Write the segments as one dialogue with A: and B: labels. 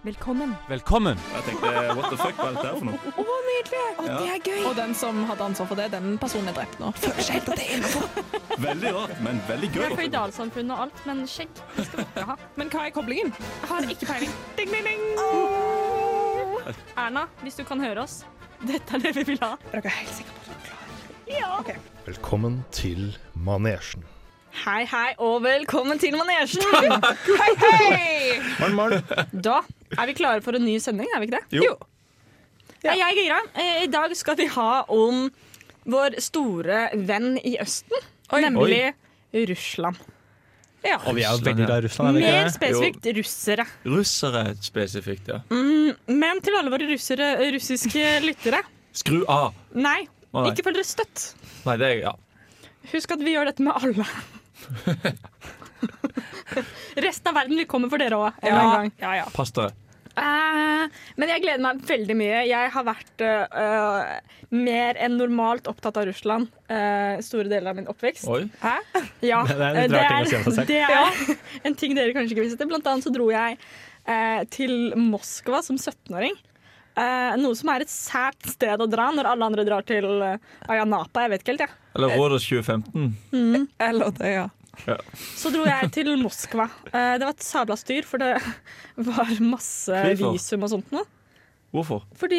A: Velkommen.
B: Velkommen!
C: Og jeg tenkte what the fuck, hva er dette her for noe?
A: Å, nydelig! Å,
C: Ja.
A: Det er gøy.
D: Og den som hadde ansvar for det, den personen er drept nå.
C: Veldig rart, men veldig gøy.
E: Vi er føydalsamfunn og alt, men skjegg det skal vi ikke ha.
D: Men hva er koblingen?
E: Jeg har ikke peiling. Ding, ding, ding. Erna, hvis du kan høre oss, dette er det vi vil ha.
D: Dere er helt sikre på at dere klarer
F: Velkommen til manesjen.
G: Hei, hei, og velkommen til manesjen!
F: Morn, morn.
G: Da er vi klare for en ny sending, er vi ikke det?
C: Jo.
G: Ja. Jeg er gira. Eh, I dag skal vi ha om vår store venn i Østen, nemlig Russland. Ja.
B: Og vi er jo
C: Russland,
B: veldig
C: ja.
B: glad i Russland. er vi
G: Mer
B: ikke det?
G: spesifikt russere.
C: Russere spesifikt, ja.
G: Men til alle våre russere, russiske lyttere
C: Skru av!
G: Nei,
C: Å, nei.
G: ikke føl dere støtt.
C: Nei, det er ja.
G: Husk at vi gjør dette med alle. Resten av verden vil komme for dere òg.
D: Ja,
G: ja, ja.
C: Pass dere.
G: Eh, men jeg gleder meg veldig mye. Jeg har vært eh, eh, mer enn normalt opptatt av Russland eh, store deler av min oppvekst.
C: Oi.
G: Ja,
B: Det er en
G: eh,
B: litt rar ting å si om seg selv.
G: det er en ting dere kanskje ikke visste. Blant annet så dro jeg eh, til Moskva som 17-åring. Eh, noe som er et sært sted å dra når alle andre drar til eh, Ayanapa. Jeg vet ikke helt, jeg.
C: Eller Rådås 2015.
D: Eller det, ja.
G: Så dro jeg til Moskva. Eh, det var et sabla styr, for det var masse
C: Hvorfor?
G: visum og sånt noe.
C: Hvorfor?
G: Fordi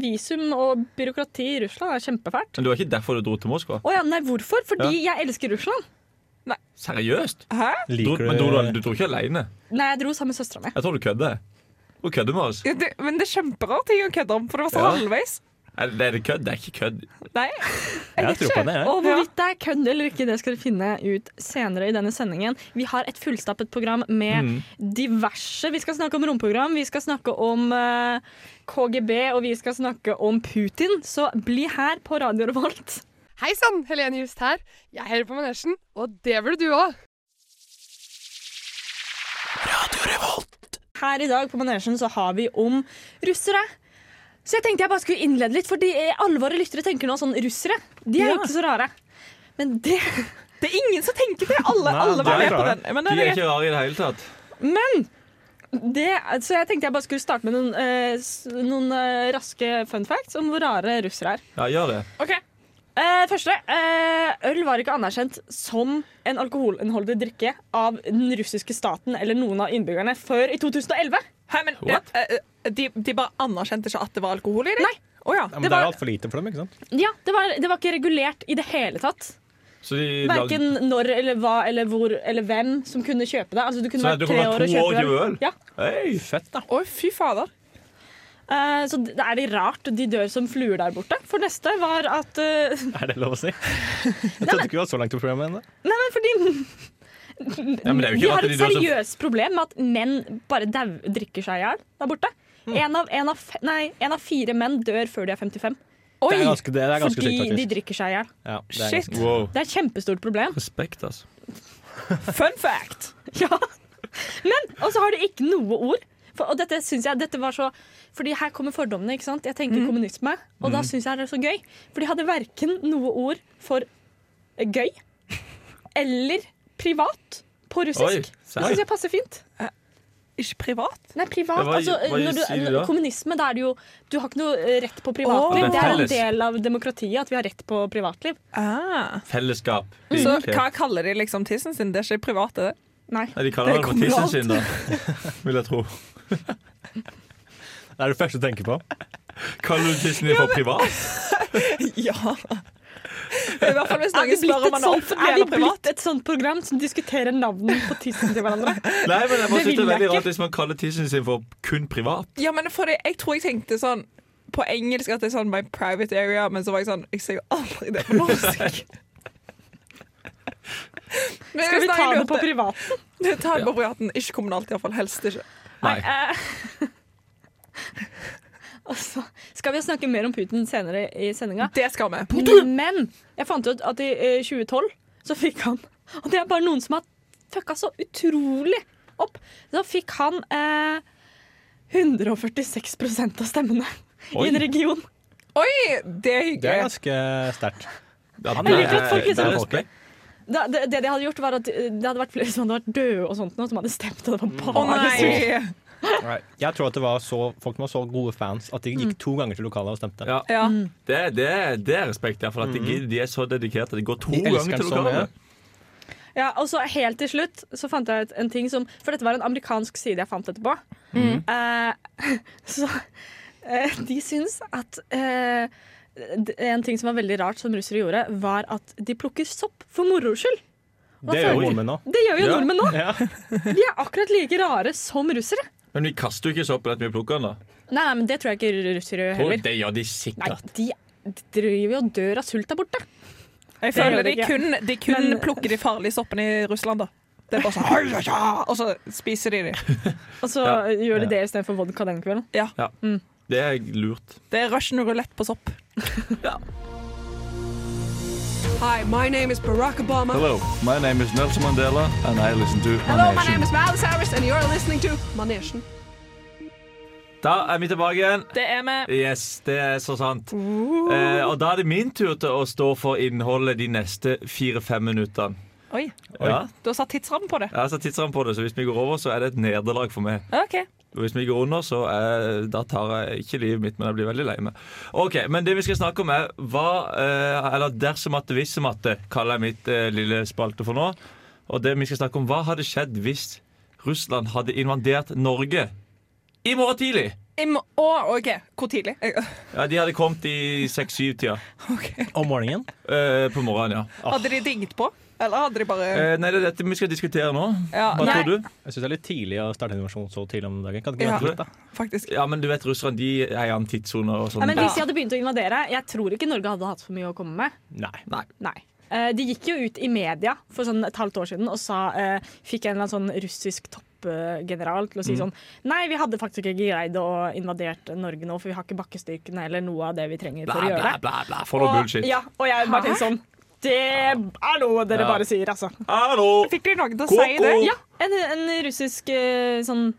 G: visum og byråkrati i Russland er kjempefælt.
C: Men det var ikke derfor du dro til Moskva?
G: Å ja, nei, hvorfor? Fordi jeg elsker Russland.
C: Seriøst? Dro,
B: Liker
C: men dro, du-
B: du
C: du dro ikke alene?
G: Nei, jeg dro sammen med søstera mi.
C: Jeg tror du kødder. Hun kødder med oss.
D: ja det, men det er kjemperart ting å kødde om, for det var sånn
C: Ja.
D: halvveis.
C: Er det er det kødd? Det er ikke kødd.
D: Nei.
B: Jeg tror på det, jeg.
G: Og hvorvidt det er kødd eller ikke, det skal dere finne ut senere i denne sendingen. Vi har et fullstappet program med diverse Vi skal snakke om romprogram, vi skal snakke om eh, KGB, og vi skal snakke om Putin. Så bli her på Radio Revolt.
H: Hei sann, Helene Just her. Jeg hører på Manesjen, og det burde du òg.
G: Her i dag på manesjen så har vi om russere. Så jeg tenkte jeg bare skulle innlede litt, fordi alle våre lyttere tenker nå sånn russere. De er jo ikke så rare. Men det
D: Det er ingen som tenker det. Alle,
B: Nei,
D: alle
B: det er
D: var med på
B: klart.
D: den. Men
C: De
D: det
C: er
D: er greit.
C: ikke rare i det hele tatt.
G: Men! Det, så jeg tenkte jeg bare skulle starte med noen, eh, s- noen eh, raske fun facts om hvor rare russere er.
C: Ja, gjør det.
G: Eh, første. Eh, øl var ikke anerkjent som en alkoholinnholdig drikke av den russiske staten eller noen av innbyggerne før i 2011.
D: Hæ, men, ja,
C: What?
D: eh, eh, de, de bare anerkjente ikke at det var alkohol i det?
G: Nei.
D: Å ja.
B: Ja, men
G: det
B: det er
G: var-
B: jo altfor lite for dem, ikke sant?
G: Ja, det var, det var ikke regulert i det hele tatt.
C: Så de lagde-
G: Verken når eller hva eller hvor eller hvem som kunne kjøpe det. Altså, du kunne
C: Så
G: vært
C: du
G: tre
C: kunne
G: år
C: vært
G: og
C: to år
G: kjøpe
C: og
G: det.
C: kjøpe øl?
G: Ja.
C: Hei, fett da.
D: Å, fy fader.
G: Eh, så det er det rart. De dør som fluer der borte. For neste var at eh,
B: Er det lov å si? Jeg trodde ikke vi var så langt i programmet ennå.
G: Nei, men fordi
C: Ja, men det er jo ikke
G: De
C: rart
G: har
C: at
G: et
C: de dør som-
G: seriøst problem med at menn bare dau, drikker seg i hjel der borte.
C: Mm.
G: En, av, en, av, fe- nei, en av fire menn dør før de er 55
B: Det
D: Oi!
B: er ganske, det er ganske
G: fordi
B: sykt,
G: de
B: faktisk.
G: drikker seg i hjel.
B: Ja, det er
D: Shit.
B: ganske.
C: Wow.
G: Det er et kjempestort problem.
C: Respekt, altså.
D: Fun fact.
G: Ja. Men, og så har de ikke noe ord. For, og dette synes jeg, dette var så Fordi her kommer fordommene. ikke sant? Jeg
C: Mm.
G: tenker kommunisme, og da syns jeg det er så gøy. For de hadde verken noe ord for eh, gøy eller privat på
C: Oi,
G: russisk.
C: sær.
G: Det syns jeg passer fint.
D: Ikke privat.
G: Nei, privat,
C: Ja, hva-
G: altså
C: hva
G: når du,
C: sier de da?
G: Kommunisme, da er det jo Du har ikke noe eh, rett på
D: Åh.
G: privatliv.
C: Det er
G: Det er en
C: felles.
G: del av demokratiet at vi har rett på privatliv.
D: Ah.
C: Fellesskap.
D: Så
C: Ok.
D: hva kaller de liksom tissen sin? Det er ikke privat, det?
G: Nei.
C: Nei, de kaller
D: Det
C: det for
D: kommer
C: tissen
D: alt.
C: sin, da. Vil jeg tro.
B: Det er det første du tenker på.
C: Kaller du tissen din for privat?
D: Ja. I hvert fall hvis
G: Er
D: noen
G: vi
D: spør
G: blitt,
D: om
G: et
D: han er
G: sånt,
D: offentlig
G: er vi
D: eller privat.
G: blitt et sånt program som diskuterer navnet på tissen til hverandre?
C: Nei, men jeg bare
G: Det
C: synes det
G: vil
C: er
G: jeg
C: veldig
G: ikke.
C: rart hvis man kaller tissen sin for kun privat.
D: Ja, men for det, jeg tror jeg tenkte sånn på engelsk at det er sånn my private area, men så var jeg sånn Jeg sier jo aldri det på norsk. Men
G: Skal vi ta
D: hvis jeg
G: det på
D: lurte-
G: privat?
D: Ta det på privaten. Ikke kommunalt, iallfall. Helst ikke.
C: Nei.
G: Eh, Altså, skal vi snakke mer om Putin senere i sendinga?
D: Det skal vi.
G: Men jeg fant ut at i eh, 2012 så fikk han Og det er bare noen som har fucka så utrolig opp. Da fikk han eh, 146 av stemmene
C: Oi.
G: i en region.
D: Oi, det er
B: Det er
D: hyggelig.
B: ganske sterkt.
C: Ja,
B: Han
C: det
G: liker at folk er
C: det
B: sånn.
C: respekt.
G: Da, det, det de hadde gjort, var at eh, det hadde vært flere som hadde vært døde og sånt nå, som hadde stemt, og det var
D: Å
G: bare
D: nei!
B: Nei. Jeg tror at det var så, folk var så gode fans at de gikk to ganger til lokalet og stemte.
C: Ja.
D: Ja.
C: Det, det, det er respekt, ja, for
G: Mm.
C: at de, gidder- de er så dedikerte. De går to
B: De elsker
C: ganger til
B: den
G: sånn,
B: så
C: lokalet.
G: Ja, og så helt til slutt så fant jeg ut en ting som For dette var en amerikansk side jeg fant etterpå. Eh, så eh, de syns at eh, d- En ting som var veldig rart som russere gjorde, var at de plukker sopp for moro skyld. Og da
B: Det gjør
G: føler-
B: jo nordmenn nå.
G: det gjør jo
C: Ja.
G: nordmenn nå!
B: Ja.
G: De er akkurat like rare som russere.
C: Men vi kaster jo ikke soppen at vi plukker den, da.
G: Nei, nei, men det tror jeg ikke russere gjør
C: Tror
G: heller.
C: det gjør de
G: Nei,
C: sikkert.
G: de de driver jo og dør av sult der borte.
D: Jeg
G: Det
D: føler
G: gjør
D: de
G: det ikke.
D: kun, de kun
G: Men-
D: plukker de farlige soppene i Russland, da. Det er bare sånn «Hei, ja, ja», Og så spiser de de.
G: Og så
C: Ja.
G: gjør de det istedenfor vodka den kvelden.
C: Det er lurt.
D: Det er russian roulette på sopp.
A: Hi, my name is Barack Obama.
C: Hello, my name is Nelson Mandela, and I listen to
A: Hello, my name is Miles Harris, and you're listening to Manesjen.
C: Da er vi tilbake igjen.
D: Det er med
C: Yes, det er så sant. Eh, og da er det min tur til å stå for innholdet de neste fire-fem minuttene.
D: Oi,
C: Ja,
D: du har satt tidsramme på det.
C: jeg har satt tidsramme på det, så hvis vi går over, så er det et nederlag for meg.
D: OK.
C: Og hvis vi går under, så er, da tar jeg ikke livet mitt, men jeg blir veldig lei meg. Ok, Men det vi skal snakke om, er hva eh, Eller dersom at hvis at kaller jeg mitt eh, lille spalte for nå. Og det vi skal snakke om, hva hadde skjedd hvis Russland hadde invadert Norge i morgen tidlig?
D: Jeg må- Å, OK. Hvor tidlig? Jeg-
C: Ja, De hadde kommet i seks-syv-tida
D: ok.
B: Om morgenen.
C: eh, på morgenen, ja.
D: Hadde de dinget på? Eller hadde de bare
C: Eh, nei, det er dette vi skal diskutere nå.
D: Ja,
C: Hva
D: nei,
C: tror du?
B: Jeg syns det er litt tidlig å starte en invasjon så tidlig om dagen. Kan ikke
D: Ja.
B: vente litt, da?
D: faktisk.
C: Ja, men du vet, Russerne de er i annen tidssone og
G: Ja,
C: sånn.
G: men hvis de hadde begynt å invadere Jeg tror ikke Norge hadde hatt for mye å komme med.
B: Nei.
G: Nei. Eh, De gikk jo ut i media for sånn et halvt år siden og sa, eh, fikk en eller annen sånn russisk toppgeneral til å
C: Mm.
G: si sånn Nei, vi hadde faktisk ikke greid å invadert Norge nå, for vi har ikke bakkestyrkene eller noe av det vi trenger for
C: Bla,
G: å gjøre
C: bla,
G: det.
C: bla, bla. For noe
G: Og-
C: bullshit.
G: Ja, og jeg bare tenkte sånn Det er noe dere
C: Ja. Oh.
G: bare sier, altså.
C: Hallo!
D: Fikk de noen til å
C: Ko-ko!
D: si det?
G: Ja, en, en russisk eh, sånn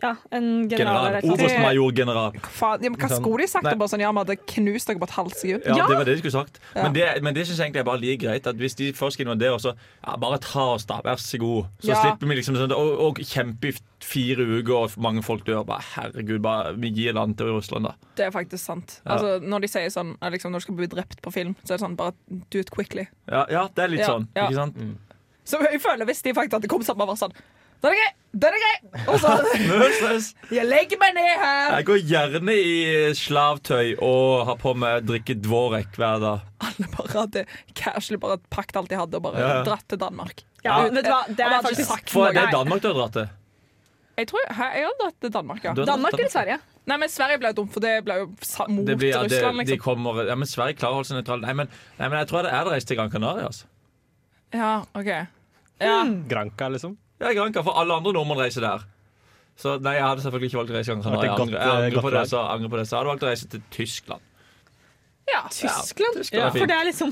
G: Ja, en general
C: General.
G: eller et eller annet.
C: Oberstmajor-general.
D: Faen, ja, men hva
B: Sånn.
D: skulle de sagt?
C: Nei.
D: Det Bare sånn, ja, vi hadde knust dere på et halvt sekund.
C: Ja,
G: Ja.
C: det var det de skulle sagt.
D: Ja.
C: Men det, men det syns jeg egentlig er bare like greit. At Hvis de først skal invadere, så ja, bare ta oss, da. Vær så god. Så
D: Ja.
C: slipper vi liksom sånn å, å kjempe i fire uker, og mange folk dør. Bare, herregud, bare, vi gir land til Russland, da.
D: Det er faktisk sant.
C: Ja.
D: Altså, når de sier sånn eh, liksom, Når du skal bli drept på film, så er det sånn bare do it quickly.
C: Ja, ja det er litt
D: Ja,
C: sånn.
D: ja.
C: Ikke sant?
G: Mm.
D: Så jeg føler hvis de faktisk hadde kommet sammen og vært sånn Den er grei! Den er grei! Og så
C: Null stress.
D: Jeg legger meg ned her!
C: Jeg går gjerne i slavtøy og har på meg drikke dvorek hver dag.
D: Alle bare hadde casually bare pakket alt de hadde og bare
C: Ja, ja.
D: dratt til Danmark.
G: Ja, vet du hva, det er
D: Og bare ikke
G: faktisk
D: sagt
C: For
D: noe.
C: det er Danmark du har dratt til?
D: Jeg tror hæ, jeg hadde dratt til Danmark, ja.
C: Du har dratt
G: Danmark
C: til-
G: eller Sverige?
D: Nei, men Sverige ble jo dumt, for det ble jo sa- mot
C: Det blir, ja, det,
D: Russland,
C: de
D: liksom.
C: kommer, ja, men Sverige klarer å holde seg nøytral. Nei, men, nei, men jeg tror det er reist til Gran Canaria. Altså.
D: Ja, OK. Ja.
G: Hmm.
B: Granca, liksom.
C: Ja, Granca, for alle andre nordmenn reiser der. Så nei, jeg hadde selvfølgelig ikke valgt å reise til Gran
B: Det
C: Canaria.
B: hadde
C: Jeg
B: vært et
C: angrer,
B: godt,
C: jeg
B: eh,
C: angrer, på
B: godt
C: det,
B: valg.
C: så, jeg angrer på det, så jeg hadde valgt å reise til Tyskland.
D: ja.
G: Tyskland?
C: Tyskland er
G: for
C: fint.
G: det er liksom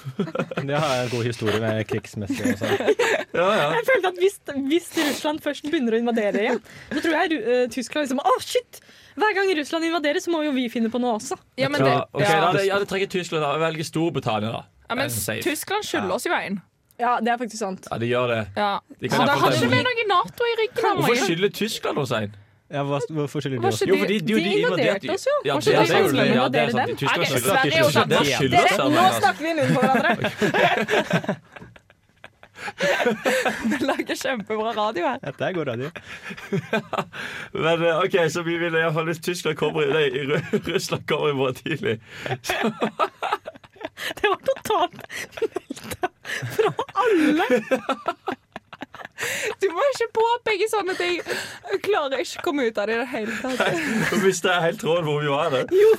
B: Det har jeg en god historie med krigsmessig. sånn. Også.
C: Ja, ja.
G: Jeg følte at hvis, hvis Russland først begynner å invadere igjen, så tror jeg Ru- eh, Tyskland liksom Å, shit! Hver gang Russland invaderer, så må jo vi finne på noe også.
D: ja, men det
C: ja, ok,
D: ja.
C: da hadde jeg- jeg hadde trukket Tyskland. da. Jeg velger Storbritannia, da.
D: Ja,
C: Eh,
D: men
C: safe.
D: Tyskland skylder oss jo en.
G: Ja, det er faktisk sant.
C: Ja, de gjør det.
D: Ja.
C: De
D: Så
C: kan
D: da
C: jeg
D: har
C: fortelle.
D: ikke vi noe Nato i ryggen.
C: Hvorfor
D: Marie.
C: skylder Tyskland oss en?
B: Ja, hva, hvorfor skylder de
D: Hva
B: oss?
D: skylder
C: Jo, fordi de,
G: de
C: de
G: invaderte oss jo.
C: Ja,
G: Hvorfor
C: det, ja, det er jo
G: skylder
C: det. Ja,
G: Tyskland
C: det er sant.
G: dem?
C: Tyskland
D: Ok,
C: skylder oss.
D: Sverige og
C: Tyskland-
D: Danmark.
C: det skylder
G: Nå
C: oss sammen, altså.
G: snakker vi munnen på hverandre!
D: Vi lager kjempebra radio her.
B: Dette er god radio.
C: Men eh, ok, så vi vil i hvert fall hvis Tyskland kommer i, nei, i Ru- Russland kommer i morgen tidlig.
G: Det var totalt melda fra alle.
D: Du må ikke påpeke sånne ting. Jeg klarer ikke å komme ut av det i det hele tatt.
C: Så mister jeg helt tråden hvor vi var da.
G: Jo,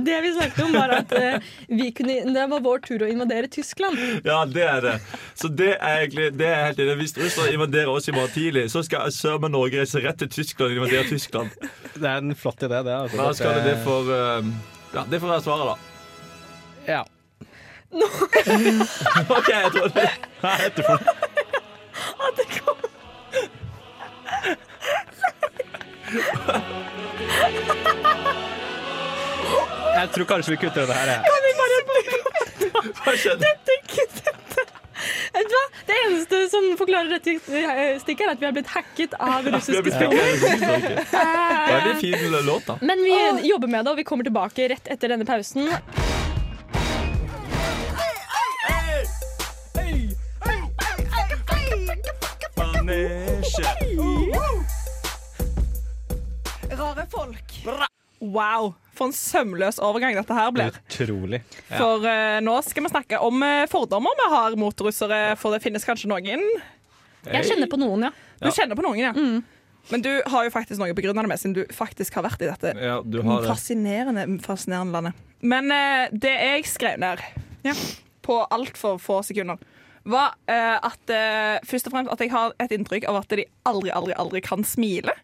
G: det vi snakket om, var at eh, vi kunne, det var vår tur å invadere Tyskland.
C: Ja, det er det. Så det er egentlig det er jeg helt enig. i. Hvis Russland invaderer oss i morgen tidlig, så skal søren meg Norge reise rett til Tyskland og invadere Tyskland.
B: Det er en flott idé, det. Altså.
C: Da skal det, det for um, Ja, det får være svaret, da.
B: Ja.
C: OK, jeg tror det.
B: Hva er dette for noe?
G: At det kom
B: Jeg tror kanskje vi kutter det her. jeg.
G: vi bare
C: Hva skjedde?
G: Tenk, dette- Vet du hva? Det eneste som forklarer dette eh, stikket, er at vi har blitt hacket av
C: Vi har
G: russiske
C: blitt
G: spioner.
C: hekket. Veldig fin låt, da.
G: Men vi jobber med det, og vi kommer tilbake rett etter denne pausen.
D: Rare folk. Wow, for en sømløs overgang dette her blir.
B: Utrolig.
D: For eh, nå skal vi snakke om eh, fordommer vi har mot russere, for det finnes kanskje noen.
G: Jeg kjenner på noen, ja.
D: Du kjenner på noen, ja.
G: Mm.
D: Men du har jo faktisk noe på grunn av det, med, siden du faktisk har vært i dette
C: Ja, du har det.
D: fascinerende, fascinerende landet. Men eh, det jeg skrev ned på altfor få sekunder, var eh, at eh, først og fremst at jeg har et inntrykk av at de aldri, aldri, aldri kan smile.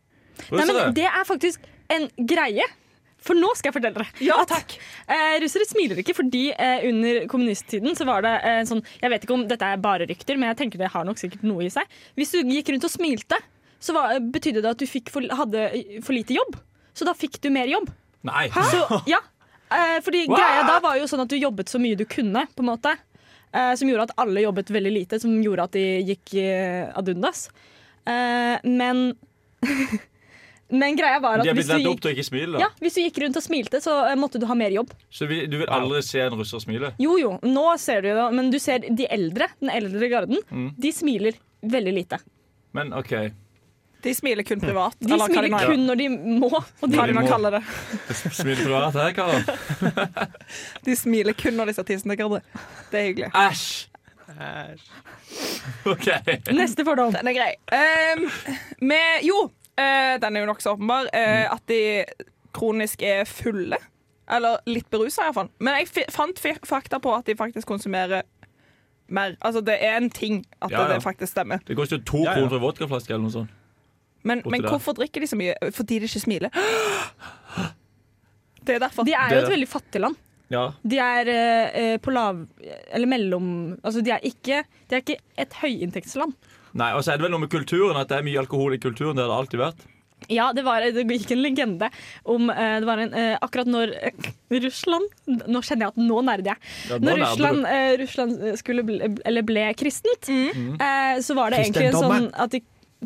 G: Nei, men
C: Russere.
G: det er faktisk en greie. For nå skal jeg fortelle dere.
D: Ja,
G: at,
D: takk.
G: Eh, russere smiler ikke fordi eh, under kommunisttiden så var det eh, sånn Jeg vet ikke om dette er bare rykter, men jeg tenker det har nok sikkert noe i seg. Hvis du gikk rundt og smilte, så var, betydde det at du fikk for, hadde eh, for lite jobb. Så da fikk du mer jobb.
C: Nei.
G: Så, ja. Eh, fordi greia da var jo sånn at du jobbet så mye du kunne, på en måte. Eh, som gjorde at alle jobbet veldig lite, som gjorde at de gikk eh, ad undas. Eh, men Men greia var
C: De
G: at
C: har
G: hvis
C: blitt
G: du,
C: lært opp
G: gikk,
C: til å ikke smile.
G: ja,
C: da.
G: hvis du gikk rundt og smilte, så eh, måtte du ha mer jobb.
C: Så vi, du vil aldri se en russer smile.
G: Jo jo, nå ser du jo det, men du ser de eldre, den eldre garden, de smiler veldig lite.
C: Men OK.
D: De smiler kun
C: Mm.
D: privat.
G: De
D: eller hva
G: smiler
D: nå er.
G: kun når de må. Og de,
D: Hva
C: de
D: de nå
C: må.
D: kaller det.
C: Smil privat her, karer.
D: De smiler kun når de ser tissen til hverandre. Det er hyggelig.
C: Æsj! OK.
G: neste fordom.
D: Den er grei. Ehm, med, jo, eh, den er jo nokså åpenbar.
C: Mm.
D: eh, at de kronisk er fulle. Eller litt berusa, iallfall. Men jeg fi- fant fi- fakta på at de faktisk konsumerer mer. Altså, det er en ting at
C: Ja, ja.
D: det faktisk stemmer.
C: Det koster jo to
B: Ja, ja.
C: kroner for en vodkaflaske eller noe sånt.
D: Men, men
C: der.
D: hvorfor drikker de så mye? Fordi de ikke smiler. Det er derfor.
G: De er jo et veldig fattig land.
C: Ja.
G: De er eh, på lav Eller mellom Altså, de er ikke, de er ikke et høyinntektsland.
C: Nei, og så er det vel noe med kulturen, at det er mye alkohol i kulturen. Det har det alltid vært.
G: Ja, det, var, det gikk en legende om eh, Det var en eh, Akkurat når eh, Russland Nå kjenner jeg at nå nerder jeg.
C: Ja, nå
G: når
C: nerder
G: Russland, eh, Russland skulle bli, eller ble kristent, eh, så var det egentlig en sånn
C: Kristendommen.
G: at de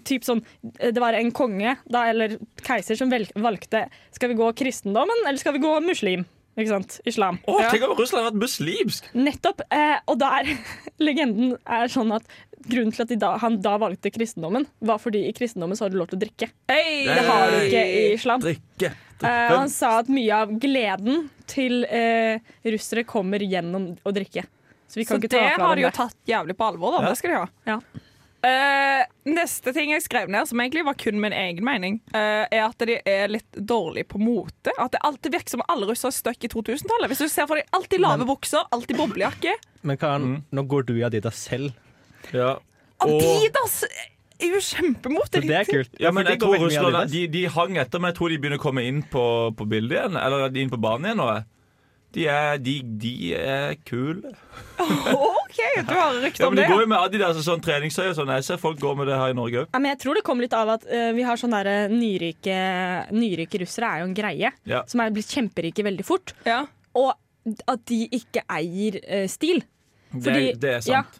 G: Typ sånn, eh, det var en konge da, eller keiser som vel, valgte Skal vi gå kristendommen eller skal vi gå muslim. Ikke sant? Islam.
C: Å, tenk om Russland har vært muslimsk!
G: Nettopp. Eh, og der legenden er sånn at grunnen til at de da, han da valgte kristendommen, var fordi i kristendommen så har du lov til å drikke.
D: Hey!
G: Det har du ikke i islam. Eh,
C: Drikke.
G: og han sa at mye av gleden til eh, russere kommer gjennom å drikke. Så vi
D: Så
G: kan
D: det
G: ikke ta fra
D: har de
G: dem
D: jo
G: det.
D: tatt jævlig på alvor, da. Det skal de ha.
G: Ja.
D: Eh, neste ting jeg skrev ned, som egentlig var kun min egen mening, eh, er at de er litt dårlige på mote. At det alltid virker som alle russere er stuck i 2000-tallet. Hvis du ser for deg alltid lave bukser, alltid boblejakke.
B: Men Karen, nå går du i Adidas selv.
C: Ja. Og,
D: Adidas er jo kjempemote.
B: Så det er kult.
C: ja, men
B: For
C: jeg
B: det går
C: tror
B: veldig mye
C: Russland
B: Adidas.
C: de, de hang etter, men jeg tror de begynner å komme inn på, på bildet igjen. Eller inn på banen igjen nå. jeg. De er, de, de er kule.
D: OK, du har rykter
C: Ja,
D: om
C: men De
D: det.
C: går jo med Adidas og sånn treningsøy og sånn. Jeg ser folk går med det her i Norge òg.
G: Ja, men jeg tror det kom litt av at eh, vi har sånn derre nyrike, nyrike russere er jo en greie.
C: Ja.
G: Som er blitt kjemperike veldig fort.
D: Ja.
G: Og at de ikke eier eh, stil.
C: Det,
G: Fordi-
C: det er sant.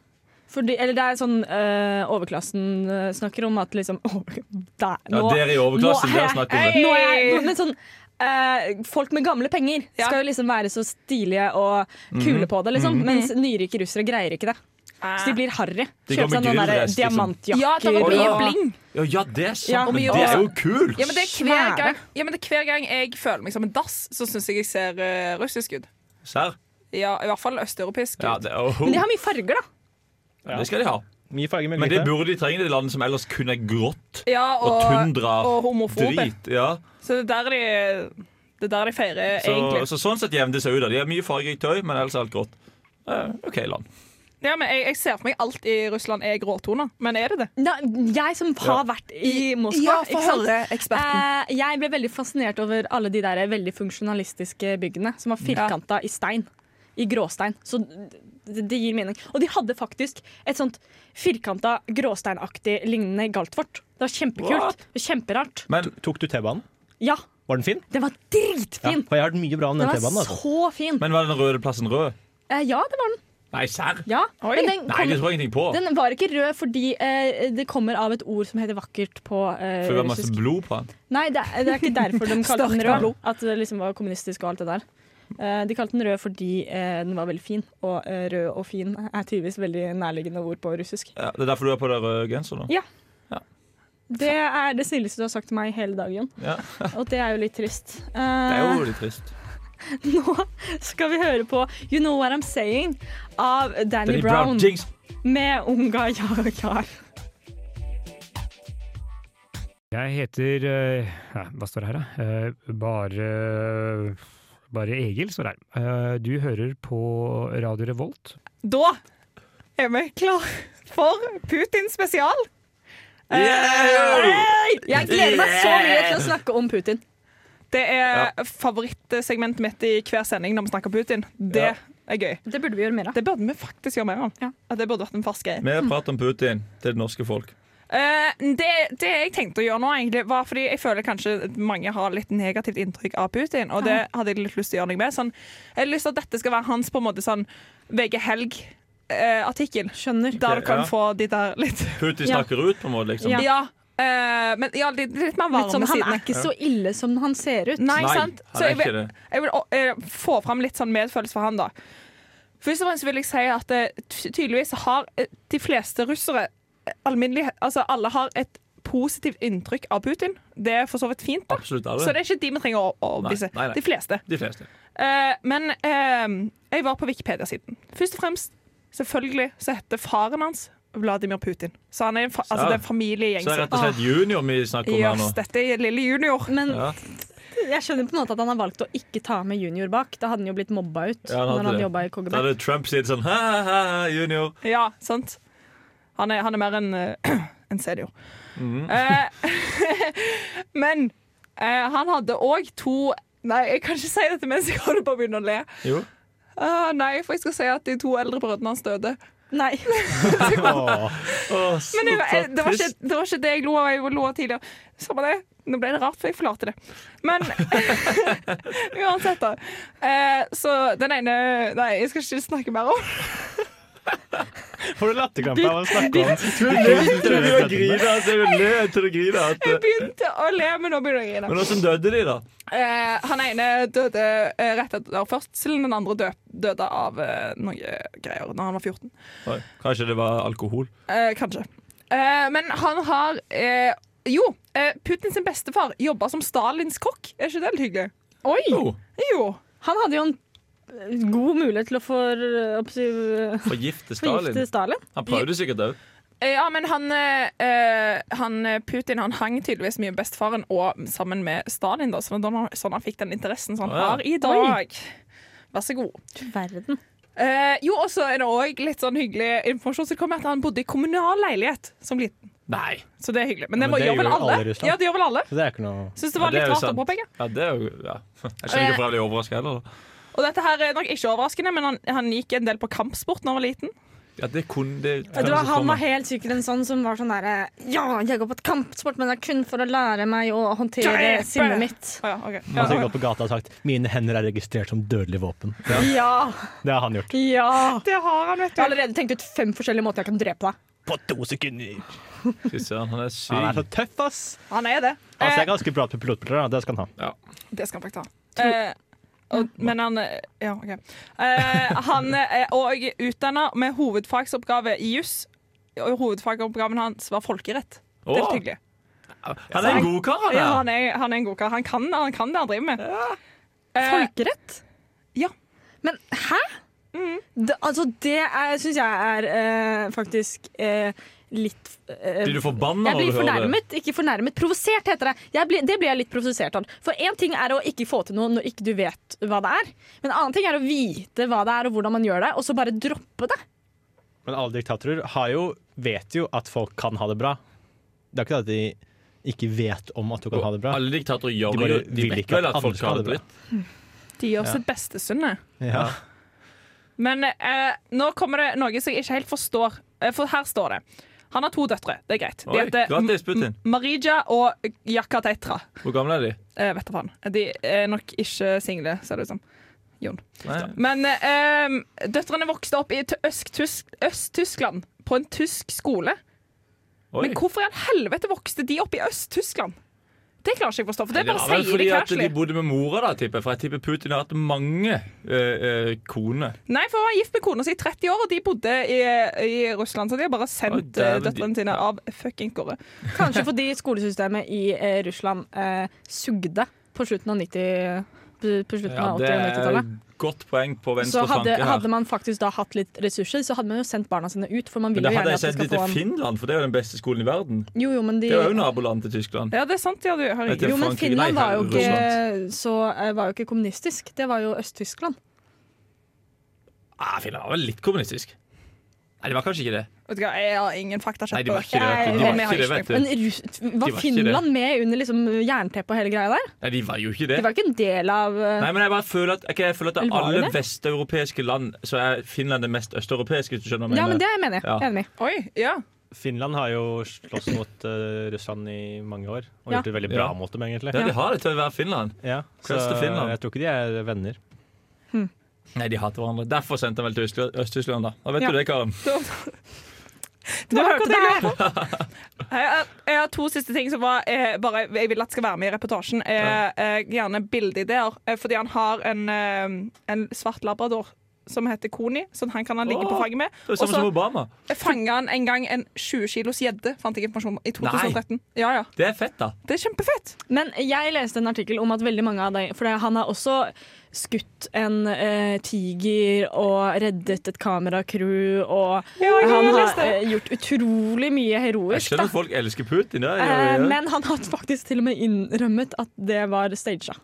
G: Fordi, eller det er sånn eh, overklassen eh, snakker om at liksom åh, der,
C: Ja,
G: nå-
C: dere i overklassen,
G: nå er
C: dere
G: jeg-
C: snakker om det.
G: Nå er jeg, nå- men sånn, eh, folk med gamle penger
D: Ja.
G: skal jo liksom være så stilige og
C: Mhm.
G: kule på det, liksom. Mens nyrike russere greier ikke det. Så de blir harry.
C: De
G: Kjøper
C: går med
G: seg noen der
C: grilldress, liksom.
G: diamantjakker.
D: Ah. Ja, det var mye
C: Ja.
D: bling.
C: Ja, ja, det er sant.
G: Ja.
C: Men
D: Og mye
C: det er
D: også-
C: jo kult!
D: Ja, men det er hver
G: Svære.
D: gang, ja, men det er hver gang jeg føler meg som en dass, så syns jeg jeg ser eh, russisk ut.
C: Serr?
D: Ja, I hvert fall østeuropeisk.
C: Ja,
D: ut.
C: det, oh,
G: Men de har mye farger, da.
C: det skal de ha.
B: Mye farge med
C: Men det
B: glitter.
C: burde de trenge i land som ellers kun er grått
D: Ja,
C: og tundra.
D: og homofobe.
C: Drit. Ja.
D: Så det er der de, det er der de feirer,
C: Så,
D: egentlig.
C: så sånn sett jevner det seg ut. da. De har mye fargerikt tøy, men ellers er alt grått. Eh, OK, land.
D: Ja, men jeg, jeg ser for meg alt i Russland er gråtoner, men er det det?
G: Da, jeg som har vært i Moskva, ikke sant? Eh, jeg ble veldig fascinert over alle de der veldig funksjonalistiske byggene som var firkanta i stein. I gråstein. Så det, det gir mening. Og de hadde faktisk et sånt firkanta, gråsteinaktig lignende galtvort. Det var
C: What?
G: kjempekult. Det var kjemperart.
C: Men
B: Tok du T-banen?
G: Ja,
B: Var den fin?
G: den var
B: Ja,
G: dritfin!
B: for jeg har hørt mye bra om den
G: Den
B: T-banen.
G: var
B: Altså.
G: så fin.
C: Men var den røde plassen rød?
G: Eh, ja, det var den.
C: Nei, serr?
G: Ja,
D: Oi.
G: men den,
C: Nei,
G: kom,
C: det tror jeg ingenting på.
G: den var ikke rød fordi eh, det kommer av et ord som heter vakkert på eh,
C: For det var masse
G: russisk.
C: blod på den.
G: Nei, det er, det er ikke derfor de kalte den
D: Starkt
G: rød. At det liksom var kommunistisk og alt det der. Eh, de kalte den rød fordi eh, den var veldig fin, og eh, rød og fin er tydeligvis veldig nærliggende ord på russisk.
C: Ja, det er derfor du har på deg rød genser nå?
G: Det er det snilleste du har sagt til meg i hele dag, Jon.
C: Ja.
G: Og det er jo litt trist. Eh,
C: Det er jo litt trist.
G: Nå skal vi høre på You Know What I'm Saying av Danny
C: Danny Brown.
G: Brown
D: Eh.
C: Jinx.
G: med Unga Jagar.
I: Jeg heter eh, ja, Hva står det her, da? Eh, Bare Bare Egil står det her. Eh, Du hører på Radio Revolt.
D: Da er vi klar for Putin spesial.
C: Yeah!
G: Jeg gleder meg så mye til å snakke om Putin.
D: Det er favorittsegmentet mitt i hver sending når vi snakker Putin. Det
C: Ja.
D: er gøy.
G: Det burde vi gjøre mer av.
D: Det burde vi faktisk gjøre mer av. At Det burde vært en fast greie.
C: Mer prat om Putin til det norske folk.
D: Eh, det, det jeg tenkte å gjøre nå, egentlig, var fordi jeg føler kanskje at mange har litt negativt inntrykk av Putin, og det hadde jeg litt lyst til å gjøre noe med. Sånn, jeg har lyst til at dette skal være hans på en måte sånn VG Helg-artikkel.
G: Eh, Skjønner.
D: der du
C: Ok,
D: kan
C: ja.
D: få de der litt
C: Putin
G: Ja.
C: snakker ut, på en måte. liksom.
D: Ja. eh, men ja, litt, litt mer varme
G: Litt sånn, han
D: sidene.
G: er ikke så ille som han ser ut.
D: Nei,
C: Nei,
D: sant?
C: han
D: Så
C: er
D: jeg vil,
C: ikke det.
D: jeg vil eh, få fram litt sånn medfølelse for han, da. Først og fremst vil jeg si at eh, ty- tydeligvis har eh, de fleste russere eh, alminnelig Altså alle har et positivt inntrykk av Putin. Det er for så vidt fint, da.
C: Absolutt
D: Så
C: alle.
D: det er ikke de vi trenger å overbevise.
C: Nei, nei, nei.
D: De fleste.
C: De fleste.
D: Eh, men eh, jeg var på Wikipedia-siden. Først og fremst, selvfølgelig, så heter faren hans Vladimir Putin. Så han er en fa altså,
C: Ja.
D: det er en
C: Så
D: familiegjeng.
C: det er
D: som-
C: rett og slett junior vi snakker om her nå.
D: Jøss, dette er lille junior.
G: Men
C: Ja.
G: jeg skjønner på en måte at han har valgt å ikke ta med junior bak. Da hadde han jo blitt mobba ut.
C: Ja, han hadde
G: når han
C: det.
G: jobbet i KGB.
C: Da hadde Trump sagt sånn ha, ha, ha, junior.
D: Ja, sant? Han er, han er mer en, eh, en senior.
C: Mm.
D: Eh, men eh, han hadde òg to Nei, jeg kan ikke si dette mens jeg holder på å begynne å le.
C: Jo.
D: Ah, nei, for jeg skal si at de to eldre brødrene hans døde.
G: Nei.
C: Åh, så
D: Men jeg, jeg, det, var ikke,
C: trist.
D: det var ikke det jeg lo av. Jeg lo av tidligere. Samme det. Nå ble det rart, for jeg forlater det. Men uansett, da. Eh, så den ene Nei, jeg skal ikke snakke mer om
B: Får du latterkrampe av å snakke om
C: Du begynte jo å grine, altså. Jeg vil le til du griner. at,
D: Jeg
C: eh,
D: begynte å le, men nå begynner jeg å grine.
C: Men åssen døde de, da?
D: Eh, han ene døde eh, rett etter fødselen, den andre dø døde av eh, noe greier når han var 14.
C: Oi, kanskje det var alkohol?
D: Eh, kanskje. Eh, men han har eh, Jo, eh, Putin sin bestefar jobba som Stalins kokk. Er ikke det litt hyggelig?
G: Oi!
C: Jo.
D: Jo.
G: Han hadde jo en eh, god mulighet til å for, eh, oppsi-
C: Forgifte Stalin.
G: forgifte Stalin.
C: Han prøvde sikkert òg.
D: Eh, ja, men han, eh, eh, han eh, Putin han hang tydeligvis mye med bestefaren og sammen med Stalin, da, sånn at han, sånn han fikk den interessen som han
C: Å, ja.
D: har i dag. Vær så god.
G: Verden.
D: Eh, jo, og så er det òg litt sånn hyggelig informasjon som kommer at han bodde i kommunal leilighet som liten.
C: Nei.
D: Så det er hyggelig. Men det,
B: Men
D: må,
B: det
D: gjør vel
B: gjør
D: alle?
B: alle i Russland.
D: ja, det gjør vel alle.
B: Så det er ikke noe
D: Syns det
C: Ja,
D: var
C: det er
D: litt
C: jo
D: rart å
C: sant.
D: påpeke.
C: Ja, det er jo ja. Jeg skjønner ikke hvorfor jeg ble overraska heller. da.
D: Og dette her er nok ikke overraskende, men han, han gikk en del på kampsport da han var liten.
C: Ja, det kunne det
G: Ja, det var, han var
C: komme.
G: helt sikkert en sånn som var sånn derre Ja, jeg går på et kampsport, men det er kun for å lære meg å håndtere
D: Drepe!»
G: sinnet mitt.
D: Å ja, ok.
B: Man har gått på gata og sagt 'mine hender er registrert som dødelig våpen'.
G: Ja!
B: Det har han gjort.
G: Ja!
D: Det har han, vet
G: Jeg har allerede tenkt ut fem forskjellige måter jeg kan drepe deg.
B: På to sekunder!
C: Fy søren, han er syk.
B: Han er så tøff, ass!
D: Han er det.
B: Han ser
D: Eh,
B: ganske bra ut på pilotbilder, da. det skal han ha.
D: det skal han faktisk ha. Eh, og,
C: Mm.
D: men han eh, Ja, OK. Eh, han er òg utdanna med hovedfagsoppgave i juss. Og hovedfagoppgaven hans var folkerett. Det er
C: Åh,
D: litt hyggelig.
C: han er en god kar, han
D: Ja,
C: der.
D: han er, han er en god kar. Han kan, han kan det han driver med. Eh,
G: Folkerett?
D: Ja.
G: Men hæ?! Det, altså, det syns jeg er eh, faktisk eh, litt eh,
C: Blir du forbanna
G: jeg
C: når
G: blir
C: du hører det?
G: fornærmet, ikke fornærmet. Provosert heter det. Jeg blir, det blir jeg litt provosert av. For én ting er å ikke få til noe når ikke du vet hva det er. Men en annen ting er å vite hva det er og hvordan man gjør det, og så bare droppe det.
B: Men alle diktatorer har jo, vet jo at folk kan ha det bra. Det er ikke det at de ikke vet om at du kan ha det bra.
C: Alle diktatorer
B: De
C: gjør
B: bare
C: det. jo. De
B: vil
C: vet
B: ikke
C: vel
B: at
C: at
B: andre
C: folk
B: skal ha
C: har det
B: det bra.
C: dritt.
D: De gjør sitt beste, Synne.
B: Ja.
D: Men eh, nå kommer det noe som jeg ikke helt forstår. Eh, For her står det. Han har to døtre. Det er greit. De
C: Oi,
D: heter
C: grattis, Putin.
D: M- Marija og Jakatetra.
C: Hvor gamle er de?
D: Eh, vet da faen. De er nok ikke single, ser det ut som. Jon.
C: Nei.
D: Men eh, em, døtrene vokste opp i T- Øst-Tysk- Øst-Tyskland, på en tysk skole.
C: Oi.
D: Men hvorfor i all helvete vokste de opp i Øst-Tyskland? Det klarer ikke jeg å forstå, for det
C: Nei,
D: bare
C: var vel
D: sier de
C: fordi at
D: casually.
C: de bodde med mora, da, tipper jeg. For jeg tipper Putin har hatt mange eh, eh, koner.
D: Nei, for han var gift med kona si i 30 år, og de bodde i, i Russland, så de har bare
C: Oi,
D: sendt eh,
C: dæven,
D: døtrene
C: de-
D: sine av fucking gårde.
G: Kanskje fordi skolesystemet i eh, Russland eh, sugde på slutten av 90 på- på slutten av 80- og
C: det er
G: 90-tallet.
C: et godt poeng på
G: Så
C: venstre
G: hadde,
C: flanke her.
G: hadde man faktisk da hatt litt ressurser, så hadde man jo sendt barna sine ut. For man vil
C: Men da
G: jo
C: hadde
G: gjerne
C: jeg
G: at de
C: sett de
G: skal få
C: til
G: en
C: Finland, for det er jo den beste skolen i verden.
G: jo, jo, men, de,
C: Det er jo naboland til Tyskland.
D: Ja, det er sant. Ja, du, herregud.
C: til
G: jo, men
C: Frankrike,
G: Finland
C: nei,
G: var jo ikke,
C: Russland.
G: så, eh, var jo ikke kommunistisk. Det var jo Øst-Tyskland.
C: Ah, Finland var vel litt kommunistisk. Nei, det var kanskje ikke det.
D: Vet du hva, jeg har ingen faktasjekk
C: Nei, de var ikke det.
G: Nei,
C: vet du. De
G: men
C: var
D: jeg har
C: ikke det, vet
D: ikke
G: Men
C: du.
G: Rus
C: var
G: var
C: ikke
G: Finland med under liksom jernteppet og hele greia der?
C: Nei, de var jo ikke det.
G: De var ikke en del av eh,
C: Nei, men jeg bare føler at, ok, jeg føler at
G: Eller
C: av
G: var
C: alle
G: det det?
C: vesteuropeiske land, så er Finland det mest østeuropeiske, hvis du skjønner hva
G: Ja,
C: jeg
G: men
C: mener.
G: det mener jeg.
C: Ja.
G: Jeg er Enig.
D: Oi, ja.
B: Finland har jo slåss mot eh, Russland i mange år, og
G: Ja.
B: gjort det veldig bra
C: Ja.
B: mot dem, egentlig.
C: Ja, de har det til å være Finland.
B: Ja, så
C: Quest to Finland.
B: jeg tror ikke de er venner.
C: Nei, de hater hverandre. Derfor sendte han vel til Øst- Øst-Tyskland, da. Da vet
G: Ja.
C: du det, Karen.
D: Du hørte det! Jeg har, jeg har to siste ting som var, eh, bare, jeg vil at skal være med i reportasjen. Eh, eh, gjerne bildeideer. Eh, fordi han har en, eh, en svart labrador som heter Koni, så han kan han ligge på
C: Åh,
D: fanget med.
C: Det er
D: Og
C: samme som
D: så
C: Obama.
D: fanga han en gang en 20 kilos gjedde, fant jeg informasjon om, i 2013. Ja, ja.
C: Det er fett, da.
D: Det er kjempefett.
G: Men jeg leste en artikkel om at veldig mange av dem For han har også skutt en eh, tiger og reddet et kameracrew, og
D: jeg
G: han har
D: leste det.
G: eh, gjort utrolig mye
C: Jeg
G: heroisk.
C: skjønner
G: Da.
C: at folk elsker Putin. Det, gjør
G: Eh,
C: de, ja.
G: men han har faktisk til og med innrømmet at det var staged.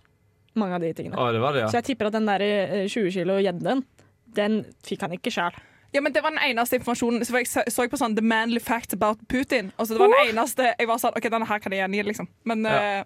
G: Mange av de tingene.
C: Å, det var det,
G: Så
C: ja.
G: jeg tipper at den der eh, 20 kilo gjedden, den fikk han ikke sjæl.
D: Ja, men Det var den eneste informasjonen. Så jeg så, så jeg på sånn The Manly Facts About Putin. Og så det var den eneste jeg var sånn, ok, denne her kan jeg gjengi, liksom. Men eh,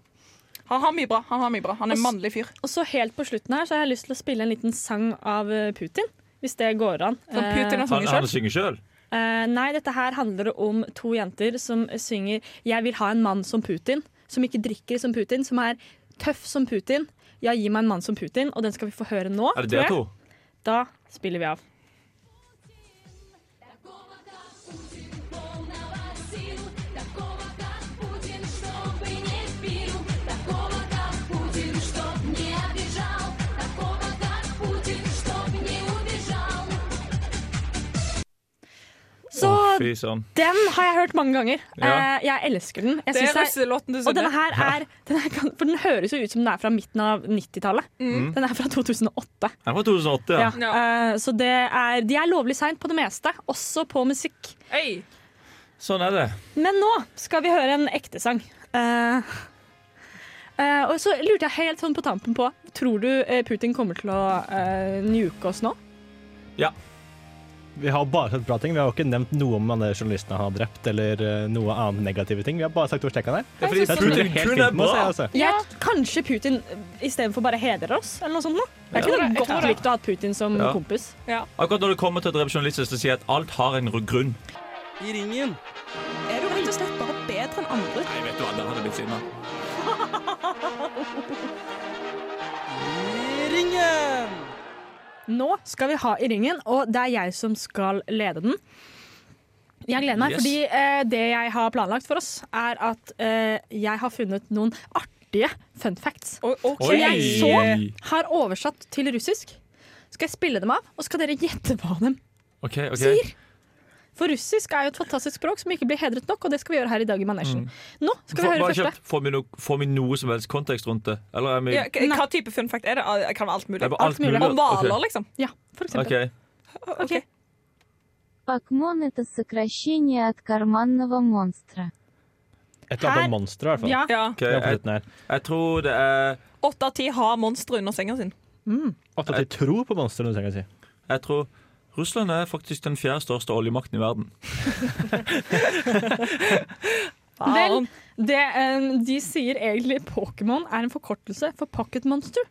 D: han har mye bra. Han har mye bra. Han er en
G: Og s-
D: mannlig fyr.
G: Og så helt på slutten her så har jeg lyst til å spille en liten sang av eh, Putin. Hvis det går an.
D: Som Putin har
C: Han,
D: sunget
C: han
D: sjøl.
C: synger sjøl.
G: Eh, nei, dette her handler om to jenter som synger 'Jeg vil ha en mann som Putin'. Som ikke drikker som Putin, som er tøff som Putin. Ja, gi meg en mann som Putin, og den skal vi få høre nå.
C: Er
G: tror
C: det dere
G: jeg.
C: to?
G: Da spiller vi av. Så
C: Å, fy søren.
G: den har jeg hørt mange ganger.
C: Ja.
G: Eh, jeg elsker den. Jeg
D: Det
G: synes
D: er
G: det er-
D: russelåten du
G: og denne
D: synger.
G: her er, den er gan- For den høres jo ut som den er fra midten av 90-tallet.
D: Mm.
G: Den er Mm. fra 2008.
C: Den var 2008, ja.
G: Ja. Eh, så det er, de er lovlig seint på det meste, også på musikk.
D: Hey.
C: Sånn er det.
G: Men nå skal vi høre en ekte sang. Eh, eh, og så lurte jeg helt sånn på tampen på Tror du eh, Putin kommer til å eh, nuke oss nå?
B: Vi har bare sett bra ting. Vi har jo ikke nevnt noe om alle journalistene han har drept, eller eh, noe annet negative ting. Vi har bare sagt hvor stekka han er.
C: Det er fordi
B: Jeg tror det er
C: Putin
B: helt
C: kun er
B: fint med oss,
C: bra.
B: jeg, altså.
G: Jeg, kanskje Putin eh, istedenfor bare hedrer oss, eller noe sånt. Nå. Jeg
D: tror
G: kunne
D: det, jeg tror
G: godt
D: det.
G: likt å ha hatt Putin som
C: Ja.
G: kompis.
C: Akkurat når det kommer til å drepe journalister, så sier jeg at alt har en grunn.
D: Er du rett og slett bare bedre enn andre?
C: Nei, vet du hva, da hadde jeg blitt sinna.
G: Nå skal vi ha I ringen, og det er jeg som skal lede den. Jeg gleder meg,
C: Yes.
G: fordi eh, det jeg har planlagt for oss, er at eh, jeg har funnet noen artige fun facts. Som jeg så har oversatt til russisk. Skal jeg spille dem av, og skal dere gjette hva dem
C: Ok, ok.
G: sier? For russisk er jo et fantastisk språk som ikke blir hedret nok, og det skal vi gjøre her i dag i manesjen.
C: Mm.
G: Nå skal vi
C: Få-
G: høre
C: bare
G: første.
C: kjapt, Får vi, no, får vi noe som helst kontekst rundt det? Eller er vi
D: Ja, k- hva type fun fact er det? Ah, Det kan være alt
C: Det
D: mulig.
C: er bare
G: alt mulig.
D: Om hvaler,
C: Ok.
D: liksom.
G: Ja, for eksempel.
C: Ok.
D: Ok.
J: Пакмон – это сокращение от карманного монстра.
B: Et eller
G: Her-
B: annet monster, i hvert fall.
G: Ja.
D: Ja.
C: ok.
B: Det er på
C: Jeg,
B: slutten her.
C: jeg tror det er
D: Åtte av ti har monstre under senga sin.
B: Åtte av ti tror på monster, hvis jeg kan si.
C: Jeg tror Russland er faktisk den fjerde største oljemakten i verden.
G: Vel, det, eh, de sier egentlig Pokémon er en forkortelse for Pocket Monster.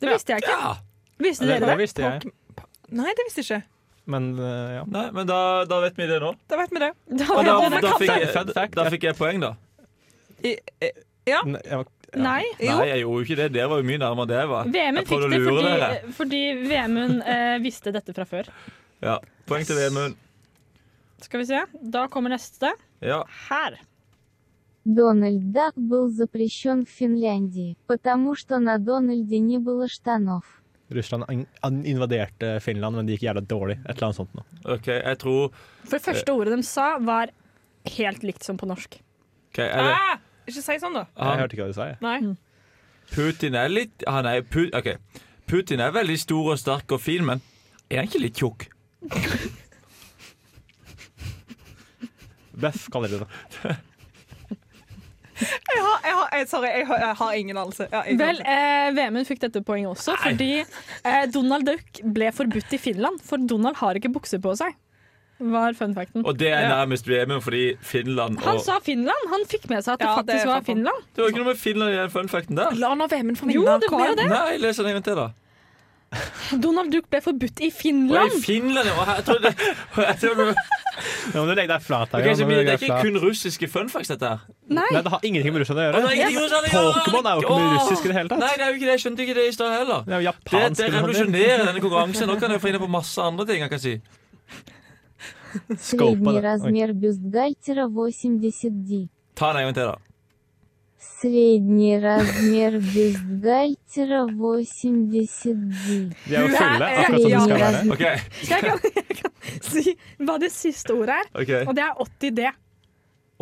G: Det visste jeg ikke.
C: Ja!
G: Visste
B: Det, det
G: dere det?
B: visste jeg,
D: Nei, det visste jeg ikke.
B: men eh, ja.
C: Nei, men da, da vet vi det nå.
D: Da vet vi det.
G: Da
C: Og
G: vet
C: da,
G: dere det.
C: da, fikk,
B: Fun
C: jeg,
B: fact,
C: da
B: ja.
C: fikk jeg poeng, da.
D: I, eh,
B: Nei, jeg var-
G: Nei.
C: Nei, jeg gjorde jo ikke det. Dere var jo mye nærmere det jeg var.
G: VM-en
C: Jeg
G: fikk
C: prøvde å
G: det
C: lure
G: fordi,
C: dere.
G: fordi VM-en eh, visste dette fra før.
C: Ja. Poeng til VM-en.
G: Skal vi se. Da kommer neste.
C: Ja.
G: Her.
J: Дональд Дак был запрещен в Финляндии, потому что на Дональде не было штанов.
B: Russland an- an- invaderte Finland, men det gikk jævla dårlig. Et eller annet sånt nå.
C: OK, jeg tror
G: For det
C: Eh.
G: første ordet de sa, var helt likt som på norsk.
C: Ok, er det,
D: Ah, ikke si sånn, da.
G: Ah!
B: Jeg hørte ikke hva du sa. jeg.
D: Nei.
C: Putin er litt han er, Pu- ok. Putin er veldig stor og sterk og fin, men er han ikke litt tjukk?
B: Bøff kaller de det.
D: Jeg har, jeg har, jeg, sorry, jeg har, jeg har ingen anelse. Ja, ingen
G: Vel,
D: anelse.
G: eh, VM-en fikk dette poenget også, fordi eh, Donald Duck ble forbudt i Finland. For Donald har ikke bukser på seg, var fun facten.
C: Og det er nærmest VM-en fordi Finland
G: Han
C: og
G: sa Finland! Han fikk med seg at det
D: Ja, det
G: faktisk var
D: fant han.
G: Finland.
C: Det var ikke noe med Finland i den fun facten der.
D: La nå VM-en få
G: Jo,
D: vinne.
G: det
D: Kom
G: var jo
D: igjen.
G: det.
C: Nei, les den en gang til, da.
G: Donald Duck ble forbudt i
C: Å, i
G: Finland!
C: Finland, ja. Jeg trodde, jeg trodde,
B: Nå må du legge deg flat. her,
C: Ok,
B: ja.
C: så
B: Nå må
C: det er
B: du legge deg
C: ikke
B: flat.
C: kun russiske fun facts, dette her.
G: Nei,
B: Nei, det har ingenting med Russland
C: Å,
B: å gjøre.
C: nei, ingenting med Russland å gjøre.
B: Pokémon er jo ikke med
C: Åh.
B: russisk i det hele tatt.
C: Nei, det er jo ikke det. Jeg skjønte ikke det i stad heller.
B: Det er
C: Det, det
B: jo japansk. eller noe sånt.
C: revolusjonerer denne konkurransen. Nå kan jeg få inn på masse andre ting jeg kan si.
B: Сколпа,
J: Средний
B: да.
J: размер бюстгальтера 80 ди.
C: Ta den en gang til, da.
J: Средний размер бюстгальтера 80 ди.
B: De er jo
D: Du
B: fulle,
D: er-
B: akkurat som de skal
J: Ja.
B: være.
C: OK.
G: jeg kan, jeg kan si hva det siste ordet er,
C: ok
G: og det er 80D.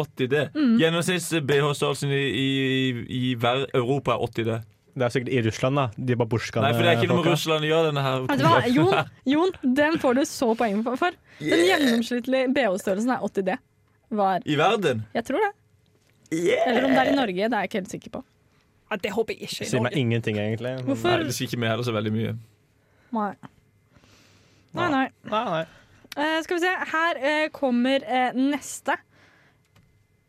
C: 80 D.
G: Mm.
C: Gjennomsnitts BH-størrelsen i, i, i hver Europa er 80 D.
B: Det er sikkert i Russland, da. De er
C: Nei,
B: babushkaene.
C: for det er ikke noe med
B: folka.
C: Russland å gjøre, denne her.
G: Vet du hva, Jon, Jon, den får du så poeng for. for. Den gjennomsnittlige BH-størrelsen er 80D. Var.
C: I verden.
G: Jeg tror det. Eller om det er i Norge, det er jeg ikke helt sikker på.
D: Ja, det håper jeg ikke. i
B: Sier meg
D: Norge.
B: ingenting, egentlig.
C: Mm,
B: men- eh,
C: Nei,
G: Hvorfor?
C: det sier ikke vi heller så veldig mye.
G: Nei. Nei, nei.
B: Nei, nei.
G: Eh, skal vi se, her eh, kommer eh, neste.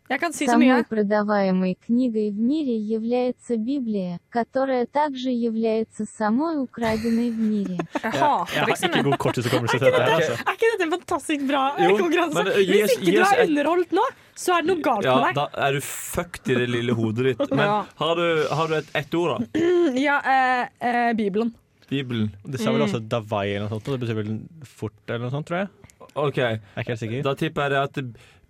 G: Jeg kan si så mye.
J: Самой продаваемой книгой в мире является Библия, которая также является самой украденной в мире.
D: Jeg
B: Jeg
D: hater
B: har
D: liksom
B: ikke
D: det.
B: god korttidshukommelse til dette her, altså.
G: Er ikke dette en fantastisk bra eh,
C: Jo,
G: konkurranse?
C: men, eh, gi
G: Hvis
C: oss-
G: ikke
C: gi
G: du
C: oss
G: er
C: et-
G: underholdt nå, så er det noe galt
C: Ja,
G: med deg.
C: da er du fucked i det lille hodet ditt. Men
D: Ja.
C: har du, har du et, ett ord, da?
G: Ja, eh, eh, Bibelen.
C: Bibelen.
B: Det sa vel også
C: Mm.
B: Davai eller noe sånt, og det betyr vel fort eller noe sånt, tror jeg.
C: OK,
B: Jeg er ikke helt sikker.
C: da tipper jeg det at